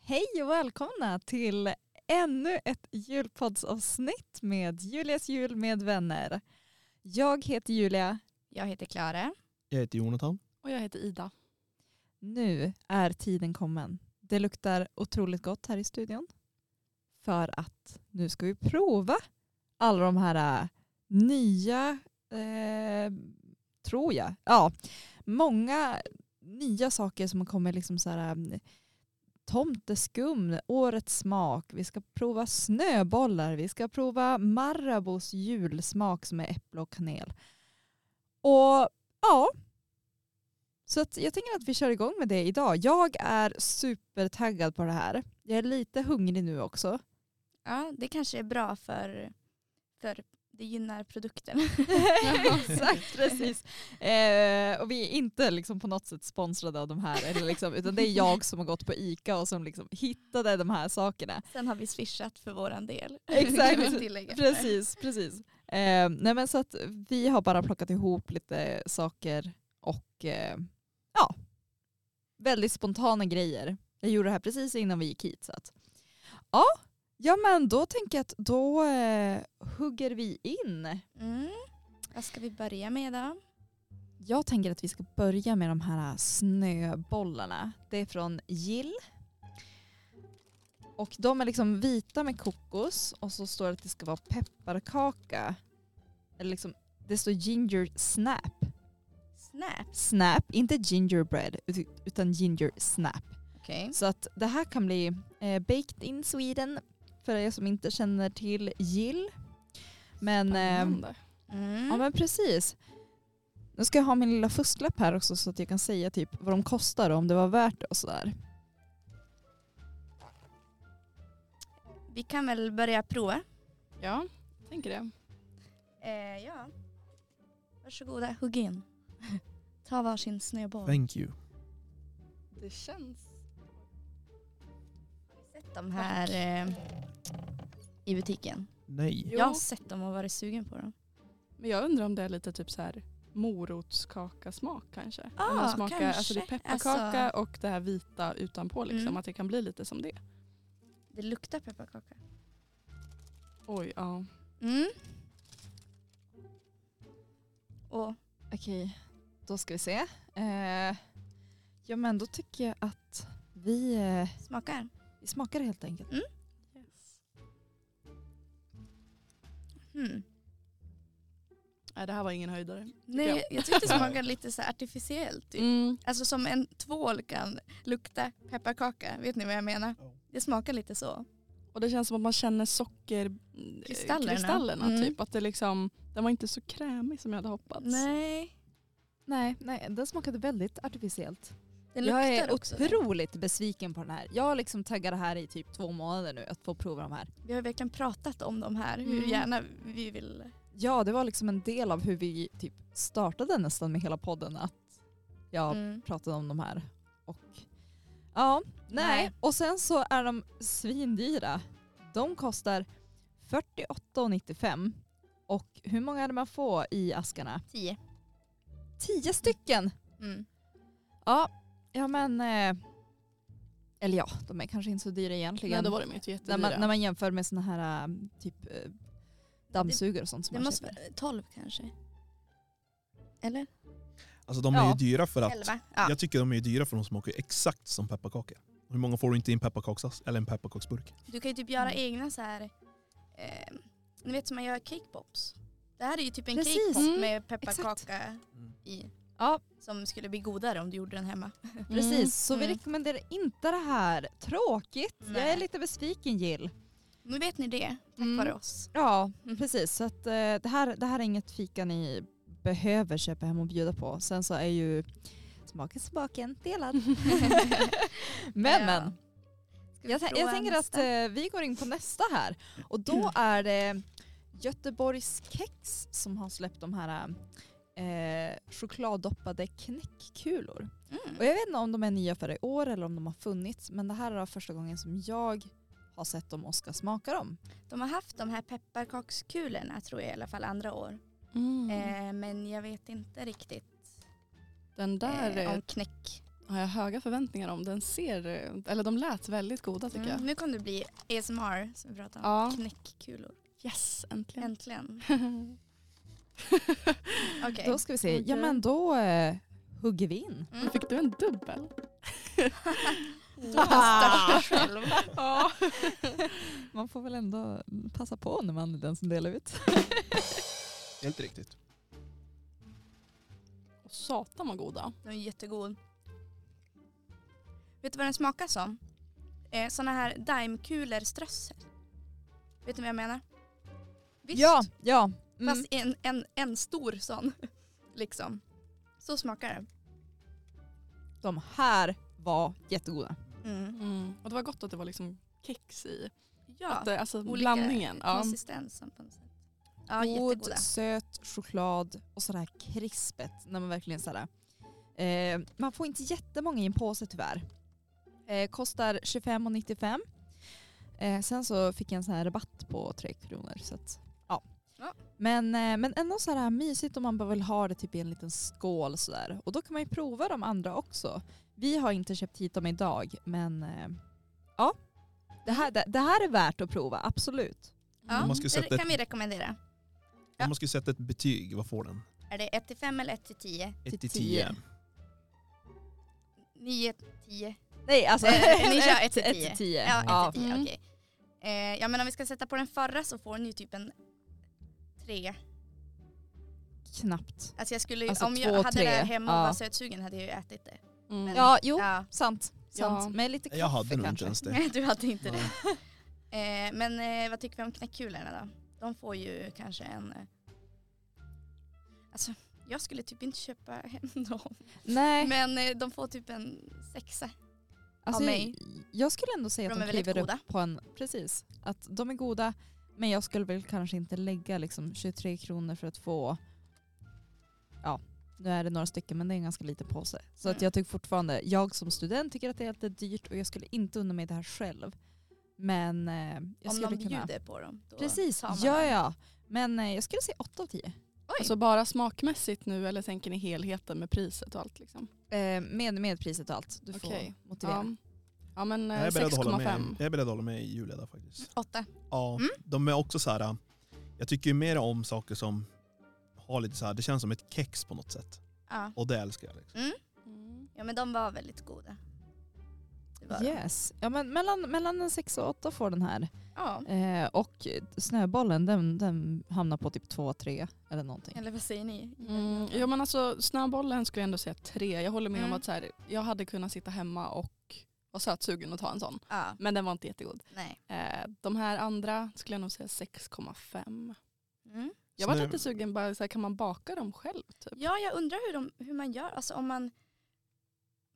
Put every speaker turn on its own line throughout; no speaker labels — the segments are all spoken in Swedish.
Hej och välkomna till ännu ett julpoddsavsnitt med Julias jul med vänner. Jag heter Julia.
Jag heter Klara.
Jag heter Jonathan.
Och jag heter Ida.
Nu är tiden kommen. Det luktar otroligt gott här i studion. För att nu ska vi prova alla de här äh, nya, eh, tror jag, ja, många nya saker som kommer liksom så här äh, tomteskum, årets smak, vi ska prova snöbollar, vi ska prova Marabos julsmak som är äpple och kanel. Och ja, så att jag tänker att vi kör igång med det idag. Jag är supertaggad på det här. Jag är lite hungrig nu också.
Ja, det kanske är bra för, för det gynnar produkten.
Exakt, precis. Eh, och vi är inte liksom på något sätt sponsrade av de här, eller liksom, utan det är jag som har gått på ICA och som liksom hittade de här sakerna.
Sen har vi swishat för våran del.
Exakt.
Kan vi tillägga.
Precis, precis. Eh, nej men så att vi har bara plockat ihop lite saker och eh, ja, väldigt spontana grejer. Jag gjorde det här precis innan vi gick hit. Så att, ja. ja, men då tänker jag att då eh, hugger vi in.
Mm. Vad ska vi börja med då?
Jag tänker att vi ska börja med de här snöbollarna. Det är från Gill. Och de är liksom vita med kokos och så står det att det ska vara pepparkaka. Eller liksom, det står ginger snap.
Snap.
Snap, inte gingerbread ut- utan ginger snap.
Okej.
Så att det här kan bli eh, baked in Sweden för er som inte känner till Gill. Men ehm,
Spännande.
Mm.
Ja men precis. Nu ska jag ha min lilla fusklapp här också så att jag kan säga typ vad de kostar och om det var värt det och sådär.
Vi kan väl börja prova.
Ja, jag tänker det.
Eh, ja. Varsågoda, hugg in. Ta varsin snöboll.
Thank you.
Det känns...
Sett dem här eh, i butiken.
Nej.
Jo.
Jag har sett dem och varit sugen på dem.
Men jag undrar om det är lite typ så här morotskakasmak kanske.
Ah,
Om man smakar,
kanske.
Alltså det är pepparkaka
Alltså-
och det här vita utanpå liksom.
Mm.
Att det kan bli lite som det.
Det luktar pepparkaka.
Oj, ja.
Mm. Och
Okej, då ska vi se. Eh, ja men då tycker jag att vi, eh,
smakar.
vi smakar helt enkelt.
Mm.
Nej, det här var ingen höjdare.
Nej, jag. tyckte det smakade lite så här artificiellt. Typ.
Mm.
Alltså som en tvål kan lukta pepparkaka. Vet ni vad jag menar? Det smakar lite så.
Och det känns som att man känner socker... eh,
Kristallerna.
kristallerna
Mm.
typ. Att det liksom, den var inte så krämig som jag hade hoppats.
Nej.
Nej, nej, den smakade väldigt artificiellt.
Den
jag
luktar
är
också.
otroligt besviken på den här. Jag har liksom taggat det här i typ två månader nu att få prova de här.
Vi har verkligen pratat om de här. Hur
Mm.
gärna vi vill.
Ja, det var liksom en del av hur vi typ startade nästan med hela podden att jag
Mm.
pratade om de här. Och, ja, nej.
Nej.
Och sen så är de svindyra. De kostar 48,95. Och hur många hade man få i askarna?
Tio.
Tio stycken!
Mm.
Ja, ja men... Eh, eller ja, de är kanske inte så dyra egentligen.
Nej, då var de ju inte
när,
jättedyra.
man, när man jämför med såna här eh, typ eh, dammsugare och sånt som
Det
man
måste
köper.
vara tolv kanske. Eller?
Alltså de är
Ja.
ju dyra för att...
Elva. Ja.
Jag tycker de är ju dyra för de smakar ju exakt som pepparkakor. Hur många får du inte i en pepparkaksas eller en pepparkaksburk?
Du kan ju typ göra
Mm.
egna så här. Eh, ni vet som man gör cake pops. Det här är ju typ en
Precis.
cake pop
Mm.
med pepparkaka i.
Ja,
Som skulle bli godare om du gjorde den hemma.
Precis, så vi
Mm.
rekommenderar inte det här. Tråkigt. Jag
Nej.
är lite besviken Jill.
Nu vet ni det, tack
Mm.
vare oss.
Ja,
Mm.
precis. Så att, eh, det, här, det här är inget fika ni behöver köpa hem och bjuda på. Sen så är ju smaken smaken delad. men
Ja.
men.
Ska vi
Jag, tän-
prova
jag tänker att
nästa?
eh, vi går in på nästa här. Och
Mm.
då är det Göteborgs Kex som har släppt de här eh, chokladdoppade knäckkulor. Och
Mm.
jag vet inte om de är nya för i år eller om de har funnits men det här är första gången som jag har sett dem och ska smaka dem.
De har haft de här pepparkakskulorna tror jag i alla fall andra år.
Mm.
Eh, men jag vet inte riktigt
Den där...
eh,
är-
om knäck.
har jag höga förväntningar om. Den ser, eh, eller de lät väldigt goda tycker
Mm,
jag.
nu kommer det bli ASMR som vi pratade om.
Ja.
Knäckkulor.
Yes, äntligen.
Äntligen.
Mm.
Okej.
Då ska vi se. Ja
Okej.
men då eh, hugger vi in.
Mm.
Fick du en dubbel?
Du har startat själv.
Ja.
Man får väl ändå passa på när man är den som delar ut.
Helt riktigt.
Satan vad goda.
Den är jättegod. Vet du vad den smakar som? Eh, Såna här daimkulor strössel. Vet du vad jag menar? Visst?
Ja, ja. Mm.
Fast en, en, en stor sån. Liksom. Så smakar det.
de här var jättegoda.
Mm.
Och det var gott att det var liksom kex i.
Ja,
att det, alltså
olika
blandningen. Ja.
konsistensen på något sätt. Ja, jättegoda.
God, söt choklad och sådär krispet. När man verkligen sådär. Eh, man får inte jättemånga i en påse tyvärr. Eh, kostar 25,95. Eh, sen så fick jag en sån här rabatt på 3 kronor. Så att, ja.
Ja.
Men, eh, men ändå så här mysigt om man bara vill ha det typ i en liten skål sådär. Och då kan man ju prova de andra också. Vi har inte köpt hit dem idag men eh, ja. Det här, det, det här är värt att prova, absolut.
Ja,
Om man ska sätta
det
ett-
kan vi rekommendera. Ja.
Om man skulle sätta ett betyg, vad får den?
Är det 1 till 5 eller 1 till 10?
Till
1 till
tio.
10.
9, 10.
Nej alltså.
Eh, ni kör ett till
ett
tio.
tio.
Ja, 1
Ja.
till 10,
Mm.
okej. Eh, ja, men om vi ska sätta på den förra så får den ju typ en 3.
Knappt.
Alltså jag skulle ju-
Alltså
om
två,
jag hade det här
tre.
hemma och
Ja.
var sötsugen hade jag ju ätit det.
Mm.
Ja, jo,
Ja.
sant. sant.
Ja.
Med lite kaffe
Jag hade nog inte
kanske.
ens det.
Nej, du hade inte det. Eh, men eh, vad tycker vi om knäckkulorna då? De får ju kanske en... Eh, alltså, jag skulle typ inte köpa hem dem.
Nej,
Men eh, de får typ en sexa.
alltså,
av mig.
jag skulle ändå säga att
De
de,
är väldigt
kliver
goda.
upp på en... Precis, att de är goda. Men jag skulle väl kanske inte lägga liksom 23 kronor för att få... Ja, nu är det några stycken men det är en ganska liten påse. Så att
Mm.
jag tycker fortfarande, jag som student tycker att det är lite dyrt och jag skulle inte unna mig det här själv. Men eh, jag
Om
skulle
någon
kunna...
bjuder på dem. Då
Precis,
tar man
ja
dem.
ja. Men eh, jag skulle säga 8 av 10.
Oj,
Alltså bara smakmässigt nu eller tänker ni helheten med priset och allt? Liksom?
Eh, med, med priset och allt. Du
Okej.
får motivera.
Ja men eh,
Jag är beredd att hålla med,
6,5.
jag är beredd att hålla med Julia där faktiskt.
åtta.
Ja,
Mm.
de är också så här. äh, Jag tycker ju mer om saker som har lite så här, det känns som ett kex på något sätt.
Ja.
Och det älskar jag. Liksom.
Mm.
Mm.
ja, men de var väldigt goda. Det var de.
Yes. Ja, men mellan, mellan en 6 och 8 får den här.
Ja,
Eh, och snöbollen den, den hamnar på typ 2-3 eller någonting.
eller vad säger ni?
Mm. Jo men alltså snöbollen skulle jag ändå säga tre. Jag håller med
Mm.
om att så här, jag hade kunnat sitta hemma och vara sötsugen och ta en sån.
Ja,
Men den var inte jättegod.
nej.
Eh, de här andra skulle jag nog säga 6,5.
Mm.
Jag var
Snö-
lite sugen, bara, så här, kan man baka dem själv? Typ?
Ja, jag undrar hur, de, hur man gör. Alltså om man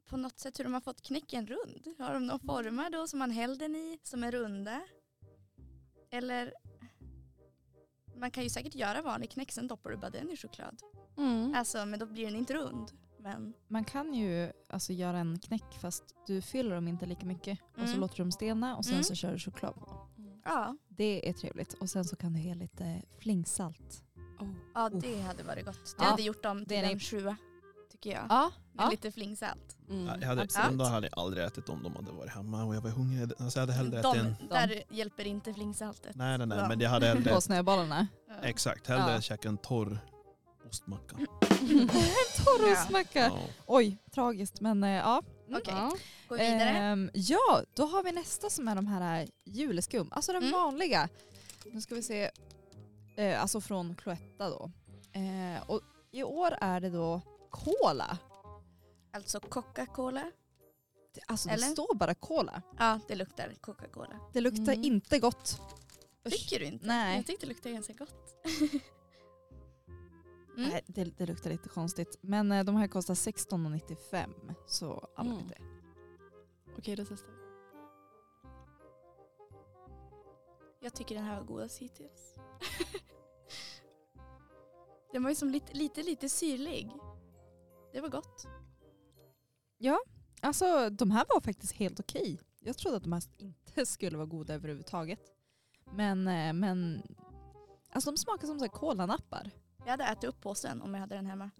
på något sätt hur de har fått knäcken rund. Har de någon formar då som man häller den i som är runda? Eller man kan ju säkert göra vanlig knäck, sen doppar du bara den i choklad.
Mm.
Alltså, men då blir den inte rund. Men
Man kan ju alltså, göra en knäck fast du fyller dem inte lika mycket. Och så
Mm.
låter du dem stelna och sen
Mm.
så kör du choklad på.
ja,
Det är trevligt. Och sen så kan du ha lite flingsalt.
Oh.
ja det hade varit gott.
Ja,
Det hade gjort dem
det
till
är
en
ni-
sjua, tycker jag.
Ja.
Med
ja.
lite flingsalt.
Ja,
Mm.
Jag hade,
absolut.
den dagen hade jag aldrig ätit om de hade varit hemma och jag var hungrig. Alltså jag hade hellre
De,
ätit en...
Där hjälper inte flingsaltet.
Nej, nej, nej,
Ja.
men jag hade hellre...
På snöbollarna.
Ja.
Exakt, hellre
Ja.
käka en torr ostmacka.
Torrosmacka.
Ja.
Oj, tragiskt men eh, ja. Mm.
Okej.
Ja.
Gå vidare.
Ehm, ja, då har vi nästa som är de här äh, juleskum. Alltså den
Mm.
vanliga. Nu ska vi se. Eh, alltså från Cloetta då. Eh, och I år är det då cola.
Alltså Coca-Cola.
Det- Alltså
Eller?
det står bara cola.
Ja, det luktar Coca-Cola.
Det luktar
Mm.
inte gott. Mm. Usch.
Tycker du inte?
Nej,
Jag tyckte det luktade ganska gott. Mm.
Nej det, det luktar lite konstigt. Men eh, de här kostar 16,95 så alla
Mm.
vet det.
Ah, Okej, då testar vi.
Jag tycker den här var godast hittills. den var ju som lite, lite, lite syrlig. Det var gott.
Alltså de här var faktiskt helt okej. Jag trodde att de här inte skulle vara goda överhuvudtaget. Men, eh, men alltså de smakar som så här kolanappar.
Jag hade ätit upp påsen om jag hade den hemma.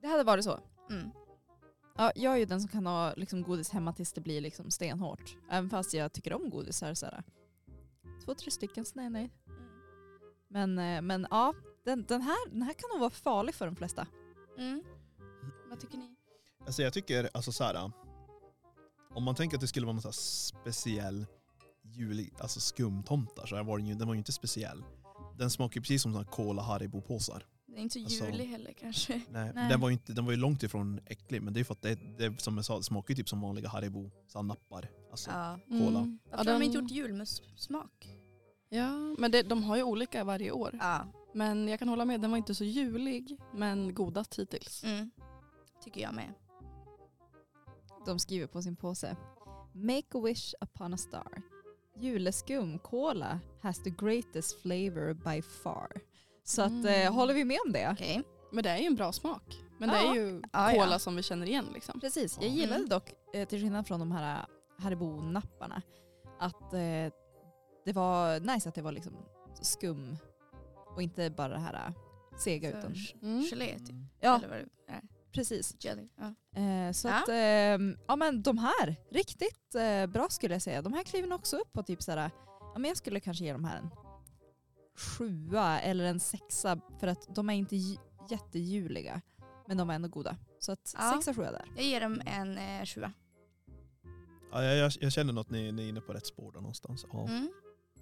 Det hade varit så.
Mm.
Ja, jag är ju den som kan ha liksom, godis hemma tills det blir liksom, stenhårt. Även fast jag tycker om godisar. Så här. Två, tre stycken, så nej, nej.
Mm.
Men, eh, men ja, den, den, här, den här kan nog vara farlig för de flesta.
Mm. Vad tycker ni?
Alltså jag tycker, alltså så här, om man tänker att det skulle vara någon så här speciell jul, alltså skumtomtar så här var den ju, den var ju inte speciell. Den smakar ju precis som sådana Cola Haribo-påsar.
Det är inte så
Alltså-
julig heller kanske.
Nej,
Nej.
Den, var ju inte, den var ju långt ifrån äcklig men det är ju för att det, det som jag sa, det smakar ju typ som vanliga Haribo, såhär nappar. Alltså,
Ja.
Cola.
Varför har Mm. de inte gjort julmusssmak?
Ja, men det, de har ju olika varje år.
Ja.
Men jag kan hålla med, den var inte så julig men godast hittills.
Mm. Tycker jag med.
De skriver på sin påse. Make a wish upon a star. Juleskum, cola has the greatest flavor by far. Så att, eh,
Mm.
håller vi med om det?
Okej.
Men det är ju en bra smak. Men det
Ja.
är ju
Ja, ja.
cola som vi känner igen liksom.
Precis, jag
Ja.
gillade
Mm.
dock, eh, till skillnad från de här Haribo-napparna, att eh, det var nice att det var liksom skum och inte bara det här eh, sega. Utan,
För-
Mm.
Gelé typ.
ja,
Eller vad det är.
precis.
Jelly. Ja.
Eh, så
Ja.
att, ehm, ja men de här, riktigt eh, bra skulle jag säga. De här kliver nog också upp på typ såhär, ja men jag skulle kanske ge de här en sjua eller en sexa för att de är inte j- jättejuliga men de var ändå goda. Så att
Ja.
sexa, sjua där.
Jag ger dem en eh, sjua.
Ja, jag, jag, jag känner att ni, ni är inne på rätt spår där någonstans. Ja.
Mm.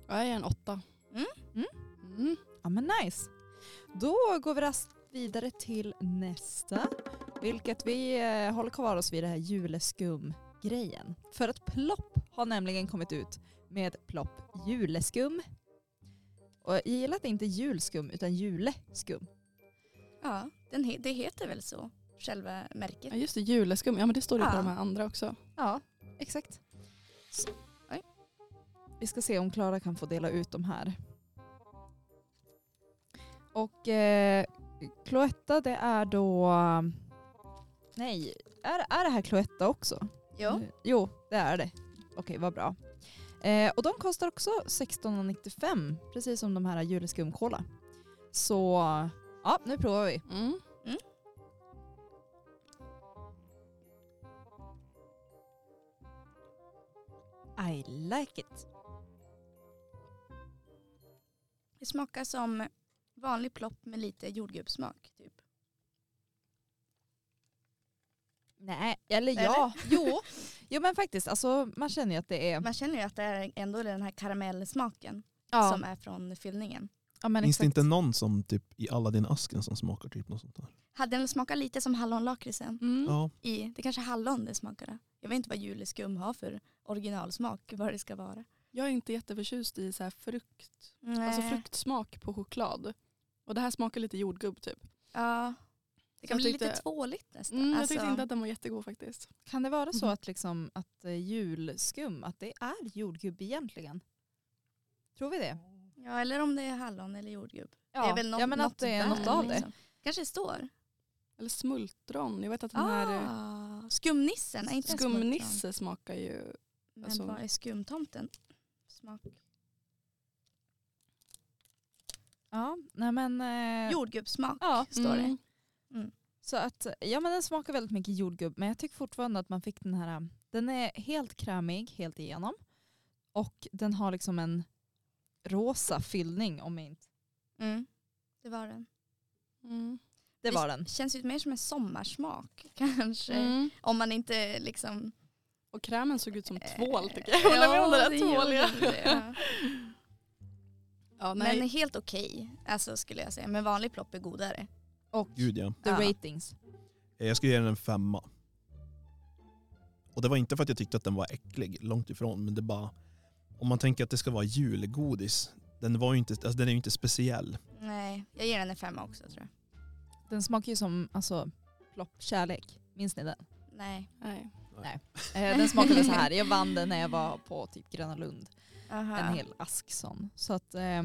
Ja, Jag är en åtta.
Mm.
Mm.
Mm.
Ja men nice. Då går vi raskt vidare till nästa. Vilket vi eh, håller kvar oss vid det här juleskum-grejen. För att Plopp har nämligen kommit ut med Plopp juleskum. Och jag gillar att det inte är julskum utan juleskum.
Ja, den he- det heter väl så, själva
Ja,
märket.
just det, juleskum. Ja men det står ju på
Ja.
de här andra också.
Ja, exakt. Så,
Oj.
Vi ska se om Klara kan få dela ut de här. Och eh, Cloetta det är då... Nej, är, är det här Cloetta också?
Ja.
Eh, Jo, det är det. Okej, vad bra. Eh, och de kostar också 16,95 precis som de här juleskumkola. Så ja, nu provar vi.
Mm.
I like it.
Det smakar som vanlig plopp med lite jordgubbssmak. Typ.
Nej, eller
Eller?
ja. Jo. jo, men faktiskt. Alltså, man känner ju att det är...
Man känner ju att det är ändå den här karamellsmaken
Ja,
som är från fyllningen.
ja men
Finns det
exakt.
inte någon som typ i alla din asken som smakar typ något sånt där?
Hade den smakat lite som hallonlakritsen?
Mm.
Ja,
i, det kanske är hallon det smakade. Jag vet inte vad juleskum har för originalsmak, vad det ska vara.
Jag är inte jätteförtjust i så här frukt. Alltså
Nej.
fruktsmak på choklad. Och det här smakar lite jordgubb typ.
Ja. Det
Jag
kan bli lite
tyckte-
tvåligt nästan.
Mm, Jag
Alltså,
tyckte inte att den var jättegod faktiskt.
Kan det vara så
Mhm.
att, liksom, att eh, julskum, att det är jordgubb egentligen? Tror vi det?
Ja, eller om det är hallon eller jordgubb.
Ja,
det är väl något,
ja men att det är
där,
något av det.
liksom. Kanske det står.
Eller smultron. Jag vet att den här eh,
Ah, skumnissen, är inte det smultron?
skumnisse smakar ju.
Men
alltså-
vad är skumtomten? Smak.
Ja, nej men... Eh,
Jordgubbssmak
Ja,
står det.
Mm.
Så att, ja men den smakar väldigt mycket jordgubb men jag tycker fortfarande att man fick den här, den är helt krämig helt igenom och den har liksom en rosa fyllning om jag inte,
Mm. Det var den.
Mm.
det
Det
var den.
Känns ju mer som en sommarsmak kanske.
Mm.
Om man inte liksom...
Och krämen såg ut som tvål
Eh,
tycker jag. Jag håller med om det där
det gjorde
tvåliga.
det, ja.
Ja, nej.
Men helt okej, alltså skulle jag säga. Men vanlig plopp är godare.
Och
gud ja.
the
Ja.
ratings.
Eh, Jag skulle ge den en femma. Och det var inte för att jag tyckte att den var äcklig, långt ifrån. Men det bara, om man tänker att det ska vara julgodis, den, var ju inte, alltså den är ju inte speciell.
Nej, jag ger den en femma också tror jag.
Den smakar ju som alltså, plopp kärlek, minns ni den?
Nej.
nej.
Eh, den smakade så här, jag vann den när jag var på typ Gröna Lund,
Aha.
en hel ask sån. Så att, eh,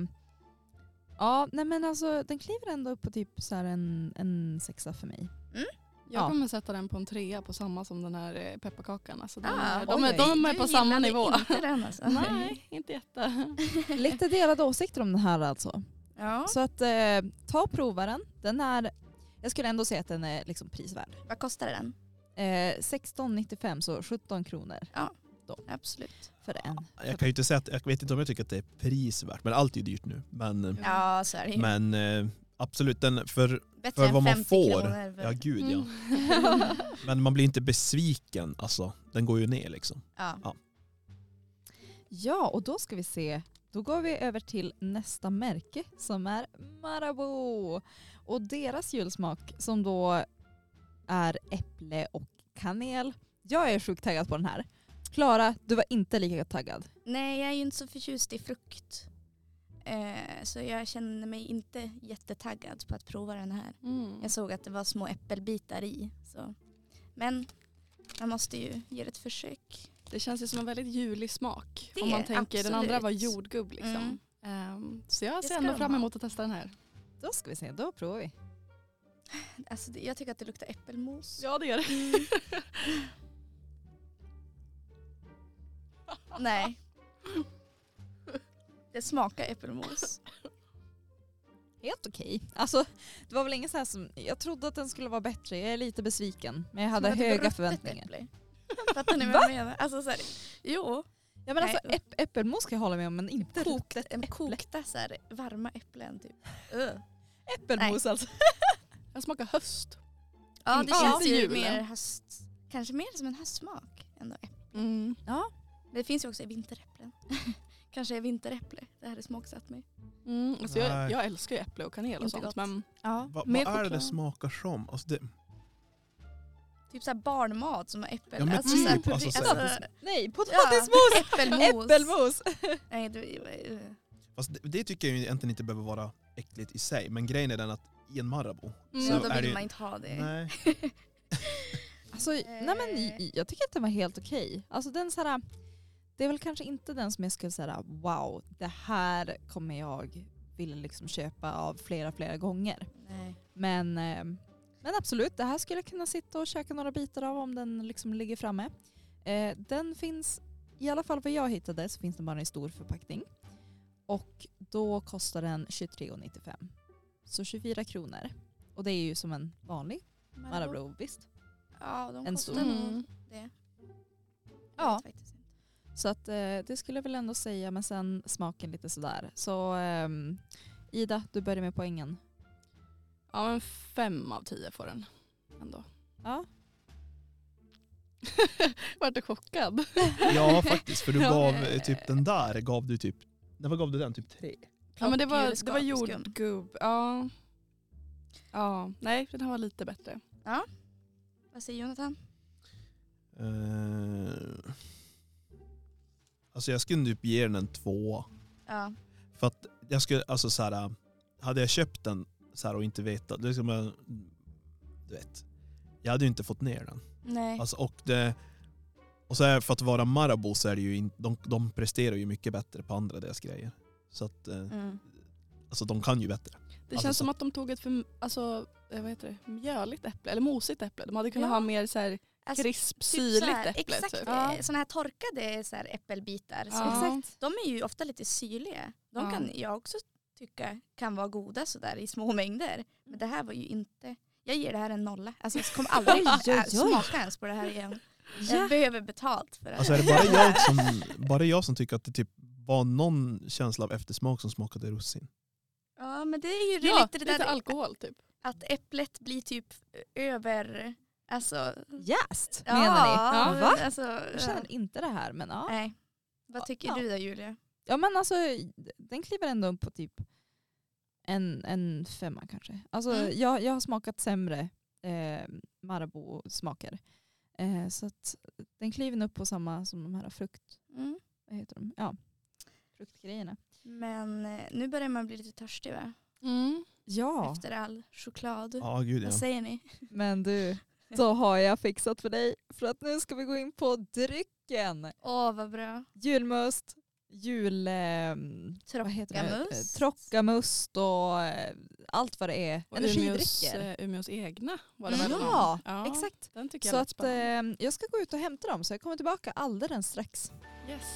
ja nej men alltså den kliver ändå upp på typ så här en, en sexa för mig.
Jag
Ja.
kommer sätta den på en trea på samma som den här eh, pepparkakan. Alltså den
Ah,
är, de,
oj,
är, de
Du
är på samma
gillade
nivå.
Inte den alltså.
Nej, inte jätte.
Lite delade åsikter om den här alltså.
Ja.
Så att eh, ta och prova den. Den är, jag skulle ändå säga att den är liksom prisvärd.
Vad kostade den?
Eh, 16,95 så 17 kronor
Absolut.
för en.
Jag kan ju inte säga att, jag vet inte om jag tycker att det är prisvärt, men allt är ju dyrt nu. Men,
Mm.
eh,
Ja, så är det ju.
men eh, absolut, den, för,
Bättre
för
än
vad man
50
får.
kronor.
ja gud ja.
Mm.
Men man blir inte besviken, alltså. Den går ju ner liksom.
Ja.
Ja, och då ska vi se. Då går vi över till nästa märke som är Marabou. Och deras julsmak som då är äpple och kanel. Jag är sjukt taggad på den här. Klara, du var inte lika taggad.
Nej, jag är ju inte så förtjust i frukt. Eh, så jag känner mig inte jättetaggad på att prova den här.
Mm.
Jag såg att det var små äppelbitar i. Så. Men man måste ju göra ett försök.
Det känns ju som en väldigt julig smak.
Det,
om man tänker, den andra var
absolut.
jordgubb liksom.
Mm.
Ehm, så jag ser
ska
ändå
de
fram
ha.
emot att testa den här.
Då ska vi se, då provar vi.
Alltså, det- jag tycker att det luktar äppelmos.
Ja det gör det.
Nej. Det smakar äppelmos.
Helt okej. Alltså, det var väl ingen så här som, jag trodde att den skulle vara bättre. Jag är lite besviken. Men jag hade
Som ett
höga
ruttet
förväntningar.
äpple. Fattar ni vad jag menar? Alltså, så här, jo,
Ja, men
Nej.
alltså, äpp- äppelmos kan jag hålla med om, men inte
kokta, kokta så här, varma äpplen typ. Ugh.
äppelmos alltså.
Den smakar höst.
Ja, det
Mm. Ja.
känns ju
Julen.
mer höst. Kanske mer som en höstsmak. Ändå.
Mm.
Det finns ju också i vinteräpplen. Kanske är vinteräpple det här är smaksatt med.
Mm. Alltså, jag,
Nej.
jag älskar ju äpple och kanel och
Inte
sånt
gott.
men
Ja,
Va, vad
mer
är det
choklad.
det smakar som? Alltså det,
Typ så här barnmat som har äppel.
Ja, men
så här
typ,
puré-
alltså så här-
alltså,
Nej,
ja,
potatismos!
äppelmos.
Äppelmos!
Nej, det, uh,
fast det, det tycker jag ju egentligen inte behöver vara äckligt i sig, men grejen är den att i en Marabou
Mm,
så
då
är
vill
det ju...
man inte ha det.
Nej.
Alltså, nej men i- jag tycker att den var helt okej. Alltså den så här, det är väl kanske inte den som jag skulle säga wow, det här kommer jag vilja liksom köpa av flera, flera gånger.
Nej.
Men, eh, men absolut, det här skulle jag kunna sitta och käka några bitar av om den liksom ligger framme. Eh, den finns, i alla fall vad jag hittade, så finns den bara i stor förpackning. Och då kostar den 23,95. Så 24 kronor. Och det är ju som en vanlig Marabou, visst.
Ja, de
En
kostar
stor.
nog
Mm.
det.
Ja.
Ja. Faktiskt. inte.
Så att, eh, det skulle jag väl ändå säga, men sen smaken lite sådär. Så ehm, Ida, du börjar med poängen.
ja men fem av tio får den. Ändå.
Ja.
Vart du chockad?
Ja faktiskt, för du
Ja.
gav eh, typ den där, gav du typ, när vad gav du den? Typ tre?
Ja men det var, det var
Plockjuleskum.
jordgubb. Ja. ja. Nej den här var lite bättre.
Vad säger Jonathan?
Eh, alltså jag skulle typ ge den en tvåa.
Ja.
För att jag skulle, alltså så här, hade jag köpt den så här och inte vetat, liksom, eh, du vet, jag hade ju inte fått ner den.
Nej.
Alltså, och det, och så här, för att vara Marabou så är det ju, in, de, de presterar ju mycket bättre på andra deras grejer. Så att, eh,
Mm.
alltså de kan ju bättre.
Det
Alltså,
känns som
så-
att de tog ett för, alltså, eh, vad heter det? mjöligt äpple eller mosigt äpple. De hade kunnat
Ja.
ha mer så här
Alltså,
krisp,
så
syrligt
här-
äpple.
Exakt,
Typ.
Ja.
sådana här torkade så här äppelbitar. som-
Ja.
Exakt.
De är ju ofta lite syrliga. De
Ja.
kan jag också tycka kan vara goda sådär i små mängder. Men det här var ju inte... Jag ger det här en nolla. Alltså jag kommer aldrig
Oj, oj, oj.
smaka ens på det här igen. Jag behöver betalt för det här.
Alltså är det bara jag som, bara jag som tycker att det typ var någon känsla av eftersmak som smakade russin?
Ja men det är ju det är
Ja,
lite det
lite
där
alkohol typ.
att äpplet blir typ över... Alltså...
Jäst menar ni?
Ja,
Va?
Alltså, ja.
Jag känner inte det här men ja.
Nej. Vad tycker
Ja.
du då Julia?
Ja men alltså den kliver ändå upp på typ en, en femma kanske. Alltså
Mm.
jag, jag har smakat sämre eh, Marabou-smaker. Eh, så att den kliver nog upp på samma som de här frukt,
Mm.
vad heter de? Ja, fruktgrejerna.
Men eh, nu börjar man bli lite törstig va?
Ja,
Efter all choklad.
Ja gud ja.
Vad säger ni?
men du, då har jag fixat för dig för att nu ska vi gå in på drycken.
Åh vad bra.
Julmust, jul... ehm, vad heter det? Eh,
Trockamust.
Trockamust och eh, allt vad det är.
Och Umeås,
Energidrycker.
eh, Umeås egna var det
Mm.
väl?
Ja,
ja,
Exakt.
Den tycker jag
Så
lät
att eh,
spännande.
jag ska gå ut och hämta dem så jag kommer tillbaka alldeles strax.
Yes.